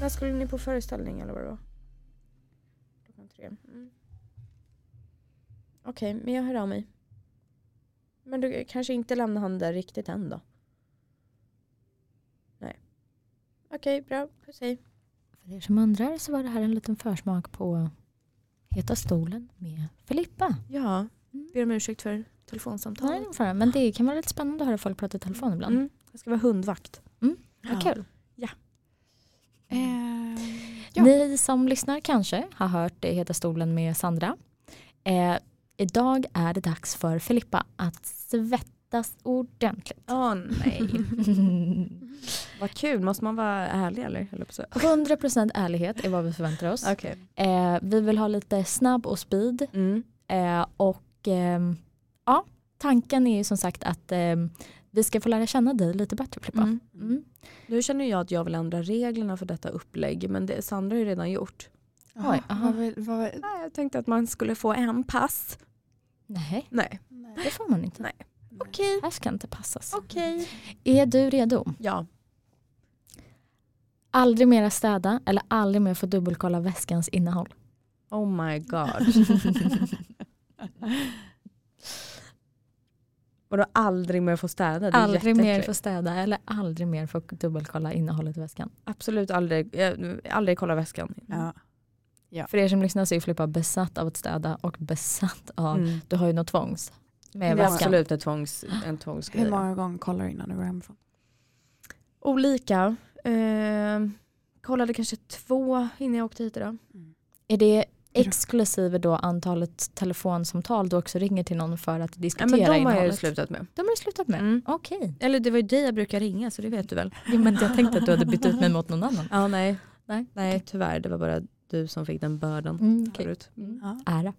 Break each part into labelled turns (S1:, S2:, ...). S1: När skulle ni på föreställning eller vad det var? Klockan tre. Mm. Okej, men jag hör av mig. Men du kanske inte lämnar han där riktigt än då? Nej. Okej, bra. Puss hej.
S2: För er som undrar så var det här en liten försmak på Heta stolen med Filippa.
S1: Ja,
S2: Mm.
S1: ber om ursäkt för
S2: Ta den
S1: telefonsamtalet.
S2: inför den, Men det kan vara lite spännande att höra folk prata i telefon ibland.
S1: Mm. Jag ska vara hundvakt.
S2: Mm.
S1: Ja.
S2: Vad kul.
S1: Ja.
S2: Ni som lyssnar kanske har hört det Heta stolen med Sandra. Eh, idag är det dags för Filippa att svettas ordentligt.
S1: Åh nej. Vad kul, måste man vara ärlig eller? Höll jag på att säga.
S2: 100% ärlighet är vad vi förväntar oss.
S1: Okej.
S2: Eh, vi vill ha lite snabb och speed.
S1: Mm.
S2: Eh, och ehm, ja, tanken är ju som sagt att ehm, vi ska få lära känna dig lite bättre Filippa.
S1: Mm.
S2: Mm.
S1: Nu känner jag att jag vill ändra reglerna för detta upplägg men det, Sandra har ju redan gjort.
S3: Jaha,
S2: Oj, aha.
S3: vad vill- vad vill-
S1: Nej, jag tänkte att man skulle få en pass.
S2: Nej,
S1: Nej.
S2: det får man inte.
S1: Nej. Okej.
S2: Här ska inte passas.
S1: Okej.
S2: Är du redo?
S1: Ja.
S2: Aldrig mera städa eller aldrig mer få dubbelkolla väskans innehåll.
S1: Oh my god. Vadå aldrig mer få städa? Det är
S2: Aldrig mer
S1: jätteäckligt.
S2: få städa eller aldrig mer få dubbelkolla innehållet i väskan.
S1: Absolut aldrig, eh, aldrig kolla väskan. Mm.
S3: Ja.
S2: För er som lyssnar så är Filippa besatt av att städa och besatt av,
S1: Mm.
S2: du har ju något tvångs med
S1: Det är
S2: väskan.
S1: absolut en, tvångs, en tvångsgrej.
S3: Hur många gånger kollar du innan du går hemifrån?
S1: Olika. Eh, kollade kanske två innan jag åkte hit idag.
S2: Är det exklusive då antalet telefonsamtal du också ringer till någon för att
S1: Ja,
S2: diskutera
S1: men de har jag ju
S2: innehållet?
S1: slutat med.
S2: de har du slutat med?
S1: Mm.
S2: Okej.
S1: Eller det var ju dig jag brukar ringa så det vet du väl?
S2: Jo, men jag tänkte att du hade bytt ut mig mot någon annan.
S1: Ja nej.
S2: Nej.
S1: Nej tyvärr det var bara du som fick den bördan.
S2: Mm, okej.
S1: förut. Mm.
S3: Ja.
S2: Ära.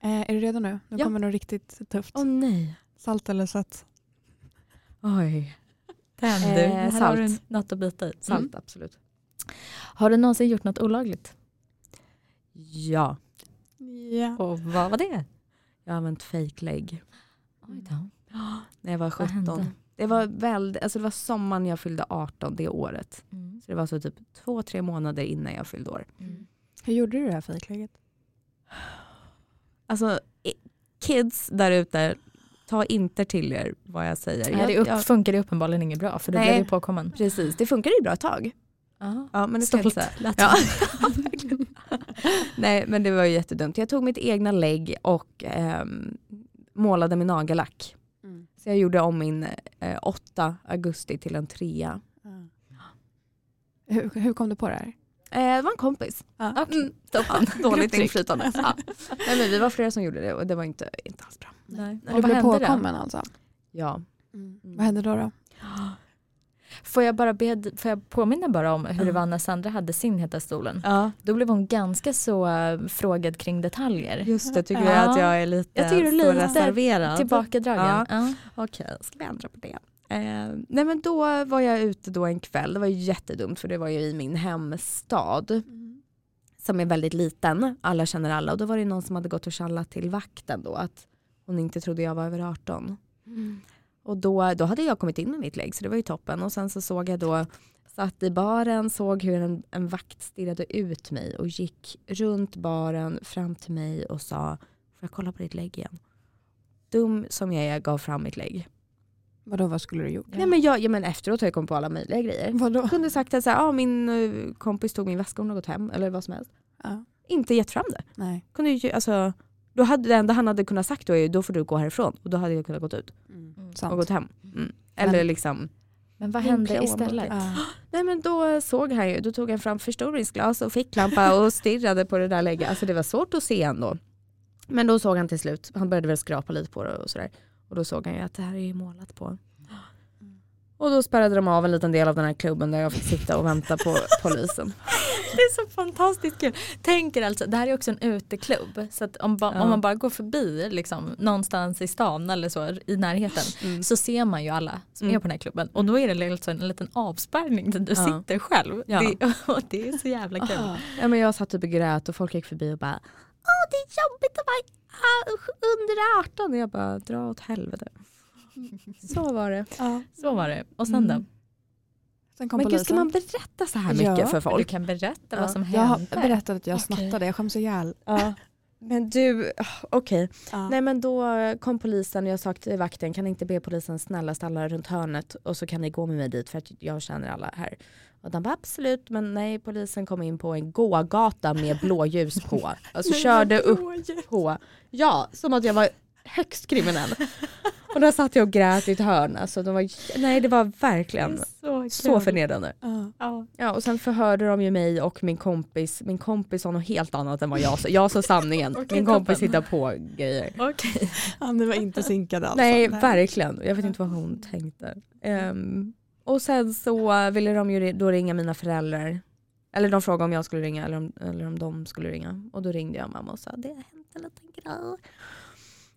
S3: Eh, är du redo nu? Nu
S1: Ja.
S3: kommer något riktigt tufft.
S1: Åh nej.
S3: Salt eller sött?
S1: Oj.
S2: Tänd
S1: du. Eh, Här har
S2: Eh, salt. Mm.
S1: du
S2: Har något att bita i.
S1: Salt
S2: Mm.
S1: absolut.
S2: Har du någonsin gjort något olagligt?
S1: Ja.
S3: Ja.
S2: Och vad var det?
S1: Jag har använt fejklägg.
S2: Oj då.
S1: När jag var
S2: Vad
S1: 17.
S2: hände?
S1: Det var, väldigt, alltså det var sommaren jag fyllde 18 det året.
S2: Mm.
S1: Så det var så typ två, tre månader innan jag fyllde år.
S2: Mm.
S3: Hur gjorde du det här fejklägget?
S1: Alltså i- kids där ute, ta inte till er vad jag säger.
S2: Nej, det
S1: jag,
S2: upp,
S1: jag,
S2: funkar det uppenbarligen inget bra för du
S1: Nej.
S2: blev ju påkommen.
S1: precis, det funkar ju bra ett tag.
S2: Aha.
S1: Ja, men det ska jag inte säga.
S2: Stolt. Lät
S1: Ja. Nej men det var ju jättedumt. Jag tog mitt egna lägg och ehm, målade med nagellack. Så jag gjorde om min eh, 8 augusti till en trea.
S3: Ja. Hur, hur kom du på det här?
S1: Eh, det var en kompis.
S3: Ja.
S1: Mm, toppen. Dåligt
S3: Grupptryck.
S1: inflytande. Ja. Nej, men vi var flera som gjorde det och det var inte, inte alls bra.
S2: Nej.
S3: Du blev påkommen alltså?
S1: Ja.
S3: Vad hände då? då?
S2: Får jag bara be, får jag påminna bara om hur det var när Sandra hade sin Heta stolen?
S1: ja.
S2: Då blev hon ganska så eh, frågad kring detaljer.
S1: Just det, tycker
S3: Ja.
S1: jag att jag är lite
S2: Jag tycker du är
S1: så
S2: lite
S1: reserverad.
S2: Tillbakadragen.
S1: Ja.
S2: Ja.
S1: Okej, ska vi ändra på det? Eh, nej men då var jag ute då en kväll, det var ju jättedumt för det var ju i min hemstad som är väldigt liten, alla känner alla och då var det någon som hade gått och tjallat till vakten då att hon inte trodde jag var över 18. Och då, då hade jag kommit in med mitt lägg så det var ju toppen och sen så såg jag då satt i baren, såg hur en, en vakt stirrade ut mig och gick runt baren fram till mig och sa får jag kolla på ditt lägg igen? Dum som jag är gav fram mitt lägg.
S3: Vadå, vad skulle du gjort?
S1: Nej, men, jag, ja, men efteråt har jag kommit på alla möjliga grejer.
S3: Vadå?
S1: Jag Mm. kunde sagt att så här, ah, min eh, kompis tog min väska och hon har gått hem eller vad som helst.
S3: Ja.
S1: Inte gett fram det.
S3: Nej.
S1: Kunde ju, alltså, då hade, det enda han hade kunnat sagt då är ju, då får du gå härifrån. Och då hade jag kunnat gått ut
S2: Mm.
S1: och
S3: Sant.
S1: gått hem. Mm. Eller
S3: Men-
S1: liksom.
S2: Men vad
S1: Min
S2: hände
S1: plånbok.
S2: istället?
S3: Ja.
S1: Nej men då såg han ju, då tog han fram förstoringsglas och ficklampa och stirrade på det där lägget. Alltså det var svårt att se ändå. Men då såg han till slut, han började väl skrapa lite på det och sådär. Och då såg han ju att det här är ju målat på.
S3: Mm.
S1: Och då spärrade de av en liten del av den här klubben där jag fick sitta och vänta på polisen.
S2: Det är så fantastiskt kul. Tänker alltså, det här är också en uteklubb. Så att om, ba,
S1: Ja.
S2: om man bara går förbi liksom, någonstans i stan eller så i närheten
S1: Mm.
S2: så ser man ju alla som
S1: Mm.
S2: är på den här klubben. Och då är det alltså en liten avspärrning där du
S1: Ja.
S2: sitter själv.
S1: Ja.
S2: Det, och det är så jävla kul.
S3: Ah.
S1: Ja, men jag satt typ och grät och folk gick förbi och bara Åh det är jobbigt att vara ah, usch, under 18 och jag bara dra åt helvete. Så var det.
S3: Ja.
S2: Så var det. Och sen
S1: Mm.
S2: då?
S3: Sen kom
S1: men gud ska
S3: polisen.
S1: man berätta så här mycket
S3: Ja,
S1: för
S2: Du
S1: folk?
S2: kan berätta
S1: Ja.
S2: vad som
S3: Jag har
S2: hände.
S3: berättat att jag
S2: Okej.
S3: snattade, jag skäms ihjäl.
S1: Ja. Men du, ah, okej.
S3: Ja.
S1: Nej men då kom polisen och jag sa till vakten kan ni inte be polisen snälla stanna runt hörnet och så kan ni gå med mig dit för att jag känner alla här. Och de bara absolut men nej polisen kom in på en gågata med blåljus på. Alltså körde upp på, ja som att jag var högst kriminell. Och där satt jag och grät i ett hörn. Alltså, de var, nej det var verkligen
S2: Så,
S1: så förnedrande.
S3: Ja.
S2: Ja.
S1: Ja, och sen förhörde de ju mig och min kompis. Min kompis sa något helt annat än vad jag sa. Jag sa sanningen.
S2: Okej,
S1: min kompis
S2: toppen.
S1: hittar på grejer.
S2: Okej.
S3: Ja, ni var inte synkade alltså.
S1: Nej, verkligen. Jag vet inte vad hon tänkte. Ehm, och sen så eh, ville de ju ri- då ringa mina föräldrar. Eller de frågade om jag skulle ringa eller om, eller om de skulle ringa. Och då ringde jag mamma och sa det har hänt en liten grej.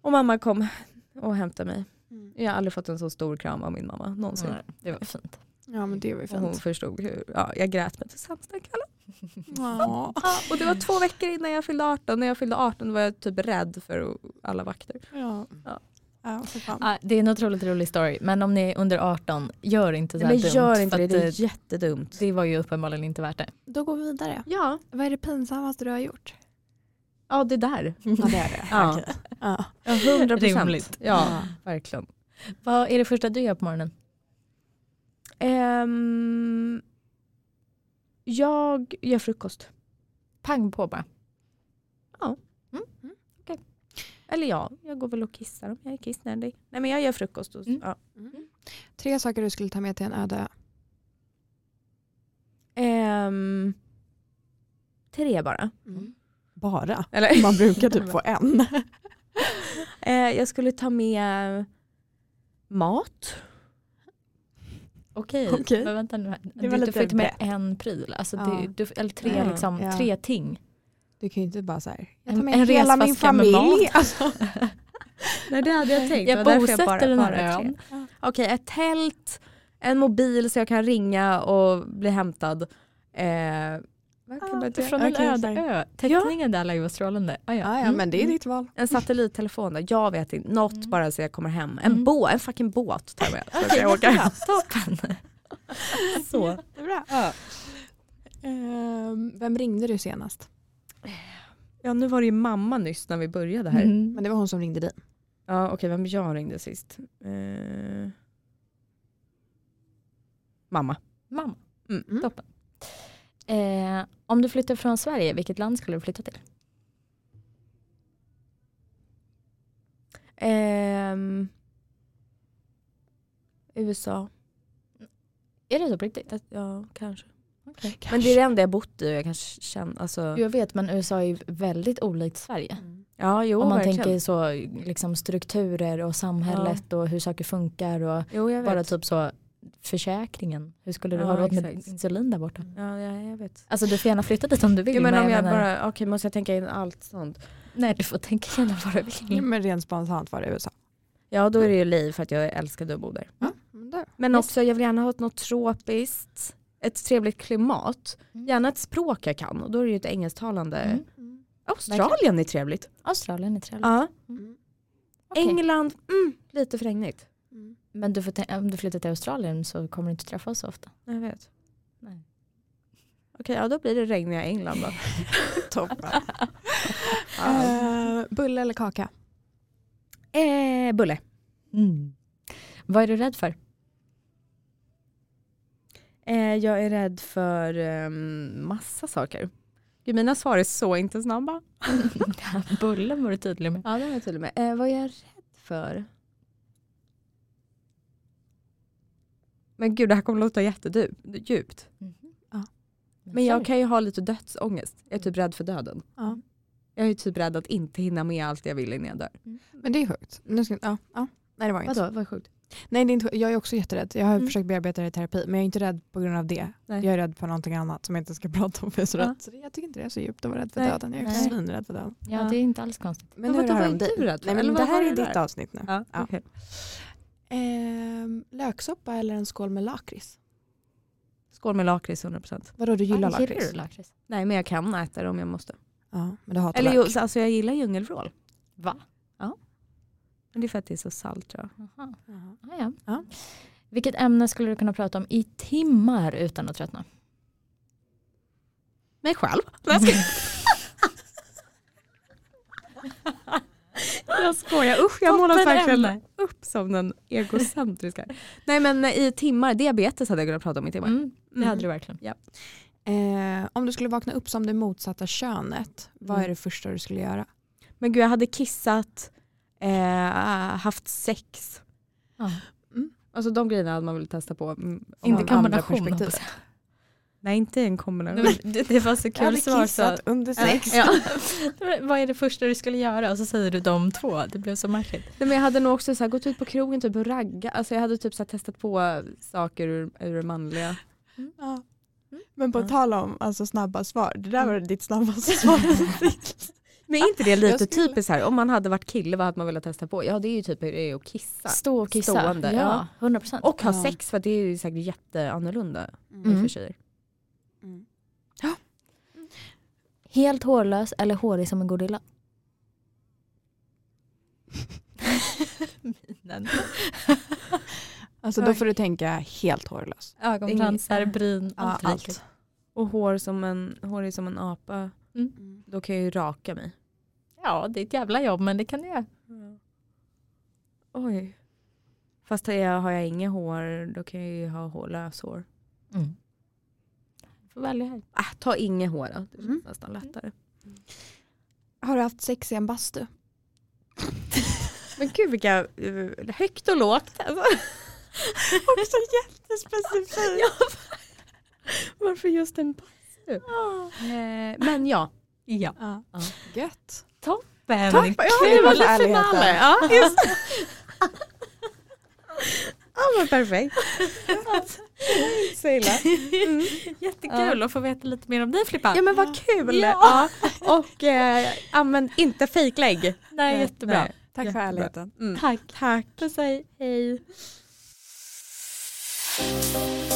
S1: Och mamma kom och hämtade mig.
S3: Mm.
S1: Jag har aldrig fått en så stor kram av min mamma någonsin.
S2: Nej, Det var fint.
S3: Ja, men det var ju
S1: Och hon
S3: fint.
S1: förstod hur, ja, jag grät mig till sämsta kvällen. Mm.
S3: Ja.
S1: Ja, Ah, och det var två veckor innan jag fyllde 18. När jag fyllde 18 var jag typ rädd för alla vakter.
S3: Ja.
S1: Ja.
S3: Ja, för fan.
S2: Ja, det är en otroligt rolig story. Men om ni är under 18, gör inte så här
S1: Men
S2: dumt.
S1: gör inte
S2: för
S1: det,
S2: att
S1: det är jättedumt.
S2: det var ju uppenbarligen inte värt det.
S3: Då går vi vidare.
S1: Ja,
S3: Vad är det pinsammaste du har gjort?
S1: ja det där.
S3: Ja, det är det.
S1: Ja.
S3: Okej. Ja.
S1: Ja, 100
S2: Rimligt.
S1: procent. Ja, verkligen.
S2: Vad är det första du gör på morgonen?
S1: Ehm, jag gör frukost.
S2: Pang på bara.
S1: Eller ja, jag går väl och kissar om jag är kissnödig. Nej men jag gör frukost. Och,
S2: Mm.
S1: ja.
S3: Tre saker du skulle ta med till en öde ö.
S1: Ehm, tre bara.
S3: Mm. Bara?
S1: Eller?
S3: Man brukar typ få en.
S1: Eh, jag skulle ta med mat.
S2: Okej,
S3: Okej.
S2: men vänta nu. här.
S3: Det var
S2: Du, du
S3: lite
S2: fick med
S3: brett.
S2: en pryl, alltså
S3: Ja.
S2: det, du, eller tre,
S1: Ja.
S2: liksom,
S3: Ja.
S2: tre ting.
S3: Du kan ju inte bara så här, jag tar
S2: En-
S3: med
S2: en
S3: hela min
S2: resväska med
S3: familj.
S2: mat.
S3: Alltså.
S1: Nej det hade jag tänkt.
S2: Jag bosätter den här ön.
S1: Okej, ett tält, en mobil så jag kan ringa och bli hämtad. Eh, vad kan man
S2: Från
S1: göra?
S2: en
S3: Okej,
S2: öde
S3: sorry.
S2: ö. Teckningen där lär ju vara strålande. Ah, ja.
S3: Ja, ja,
S2: Mm.
S3: men det är ditt val.
S1: En satellittelefon då? Jag vet inte, något
S2: Mm.
S1: bara så jag kommer hem. En
S2: Mm.
S1: båt, en fucking båt tar jag med. Så
S2: Okej,
S1: kan jag åker hem.
S2: Toppen.
S1: Så.
S3: Jättebra. Ehm, vem ringde du senast?
S1: Mm. Ja nu var det ju mamma nyss när vi började här.
S2: Mm.
S3: Men det var hon som ringde dig.
S1: Ja okej, vem jag ringde sist? Eh... Mamma.
S2: Mamma,
S1: Mm.
S3: Mm.
S2: toppen. Eh, om du flyttar från Sverige, vilket land skulle du flytta till?
S1: Ehm, USA,
S2: Är det så på riktigt?
S1: ja kanske.
S2: Okej.
S1: Men det är det enda jag bott i och jag kanske känner, alltså.
S2: Jag vet, men USA är ju väldigt olikt Sverige.
S1: Ja jo
S2: Om man
S1: verkligen.
S2: tänker så, liksom strukturer och samhället och hur saker funkar och
S1: jo, jag
S2: bara
S1: vet.
S2: typ så försäkringen. Hur skulle du
S1: Ja,
S2: ha råd med
S1: exakt.
S2: insulin där borta?
S1: Ja, ja, jag vet.
S2: Alltså du får gärna flytta dit om du vill.
S1: Jo, men om jag
S2: menar-
S1: bara, okej måste jag tänka in allt sånt?
S2: Nej, du får tänka igenom vad du vill.
S3: Ja, men rent spontant var det USA.
S1: Ja då är det ju liv för att jag älskade att bo där.
S3: Ja, men Mm, där.
S1: Men
S2: Just.
S1: också jag vill gärna ha ett- något tropiskt, ett trevligt klimat.
S2: Mm.
S1: Gärna ett språk jag kan och då är det ju ett engelsktalande.
S2: Mm.
S1: Australien är trevligt.
S2: Australien är trevligt.
S1: Ja.
S3: Mm.
S2: Okej.
S1: England, mm, lite för regnigt.
S3: Mm.
S2: Men du får tän- om du flyttar till Australien så kommer du inte träffa oss så ofta.
S1: Jag vet.
S2: Nej.
S1: Okej, ja då blir det regniga England då.
S3: Toppen. Ehm, bulle eller kaka?
S1: Eh, bulle.
S2: Mm. Vad är du rädd för?
S1: Eh, jag är rädd för ehm, massa saker. Gud, mina svar är så inte snabba.
S2: Bullen var du tydlig med.
S1: Ja, det var jag tydlig med. Eh, vad är jag rädd för? Men gud, det här kommer låta jättedjupt.
S2: Mhm.
S1: Men jag kan ju ha lite dödsångest. Jag är typ rädd för döden.
S3: Ja.
S1: Jag är typ rädd att inte hinna med allt jag vill innan jag dör.
S3: Men det är sjukt. Nu ska, ja, ja. Nej det var inte.
S1: Vad sjukt.
S3: Nej, det är inte, jag är också jätterädd. Jag har
S1: Mm.
S3: försökt bearbeta det i terapi men jag är inte rädd på grund av det.
S1: Nej.
S3: Jag är rädd för någonting annat som jag inte ska prata om. För jag, är så
S1: Ja.
S3: rädd. Så det- jag tycker inte det är så djupt att vara rädd för
S1: Nej.
S3: döden. Jag är
S2: Nej.
S3: svinrädd för döden.
S2: Ja, det är inte alls konstigt.
S1: Men vadå, vad är du rädd för? Eller
S3: Nej, men det
S1: vad var
S3: här är
S1: det
S3: ditt
S1: där?
S3: avsnitt nu.
S1: Ja,
S3: Ja.
S1: okej.
S3: Ehm, löksoppa eller en skål med lakrits?
S1: Skål med lakrits 100%.
S3: Vadå, du gillar
S2: Ja,
S3: lakrits?
S2: du lakrits?
S1: Nej men jag kan äta det om jag måste.
S3: Ja, men du hatar
S1: Eller
S3: lök.
S1: jo, alltså jag gillar djungelvrål.
S2: Va?
S1: Men det är för att det är så salt tror jag.
S2: Jaha.
S3: Jaha.
S2: Ah, ja.
S3: Ja.
S2: Vilket ämne skulle du kunna prata om i timmar utan att tröttna?
S1: Mig själv. Nej, jag skojar. Jag skojar, usch jag målas verkligen
S2: Toppenämne.
S1: upp som den egocentriska. Nej men eh, i timmar, diabetes hade jag kunnat prata om i timmar.
S2: Mm, det
S1: Mm.
S2: hade du verkligen.
S3: Eh, om du skulle vakna upp som det motsatta könet, vad
S1: Mm.
S3: är det första du skulle göra?
S1: Men gud jag hade kissat, eh, haft sex.
S2: Ja.
S3: Mm.
S1: Alltså de grejerna hade man velat testa på. mm, från
S2: Inte
S1: andra
S2: kombination
S1: perspektiv.
S2: hoppas jag.
S1: Nej inte en kombination.
S2: Nej, men Det, det var så
S3: Jag hade
S2: kul svar. Så.
S3: kissat under
S2: Ja.
S3: sex.
S2: Ja. Vad är det första du skulle göra? Och så säger du de två. Det blev så märkligt.
S1: Nej, men jag hade nog också så här, gått ut på krogen typ, och ragga. Alltså, jag hade typ så här, testat på saker ur, ur det manliga.
S3: Ja. Mm. Men på
S1: Ja.
S3: tal om alltså, snabba svar, det där var ditt snabbaste svar.
S1: Men är inte det
S3: Jag
S1: lite
S3: skulle-
S1: typiskt här, om man hade varit kille vad hade man velat testa på? Ja det är ju typ det är att kissa.
S2: Stå och kissa.
S1: Stående, ja.
S2: ja, 100 procent.
S1: Och ha
S3: Ja.
S1: sex för det är ju säkert jätteannorlunda i och
S2: Mm.
S1: för sig.
S3: Mm.
S2: Helt hårlös eller hårig som en gorilla? Minen.
S3: Alltså då får du tänka helt hårlös.
S2: Ögonfransar, bryn,
S3: Ja,
S2: allt.
S3: allt.
S2: lika.
S1: Och hår, som en, hår är som en apa,
S2: Mm.
S3: Mm.
S1: då kan jag ju raka mig.
S2: Ja, det är ett jävla jobb men det kan du göra.
S1: Oj. Fast har jag, har jag inget hår då kan jag ju ha hårlös hår.
S2: Mm. Får välja här.
S1: Ah, ta inget hår då, det känns
S3: Mm.
S1: nästan lättare.
S3: Har du haft sex i en bastu?
S1: Men gud vilka, eh, högt och lågt. alltså.
S3: Också jättespecifikt.
S1: Varför just en bastu? Eh, men ja.
S2: Ja.
S3: Ja.
S2: Ja.
S3: Gött.
S2: Ben,
S3: Tack, ja, det var för ärligheten.
S1: Ja, just det. Ja men perfekt. Så illa. Mm.
S2: Jättekul att få veta lite mer om dig Filippa.
S1: Ja men vad kul.
S2: Ja.
S1: Ja, Och eh, använd inte fejklägg. Eh,
S2: Nej, jättebra.
S1: Nej.
S3: Tack för
S1: Jättebra.
S3: ärligheten.
S1: Mm.
S2: Tack.
S1: Tack.
S2: Puss hej. hej.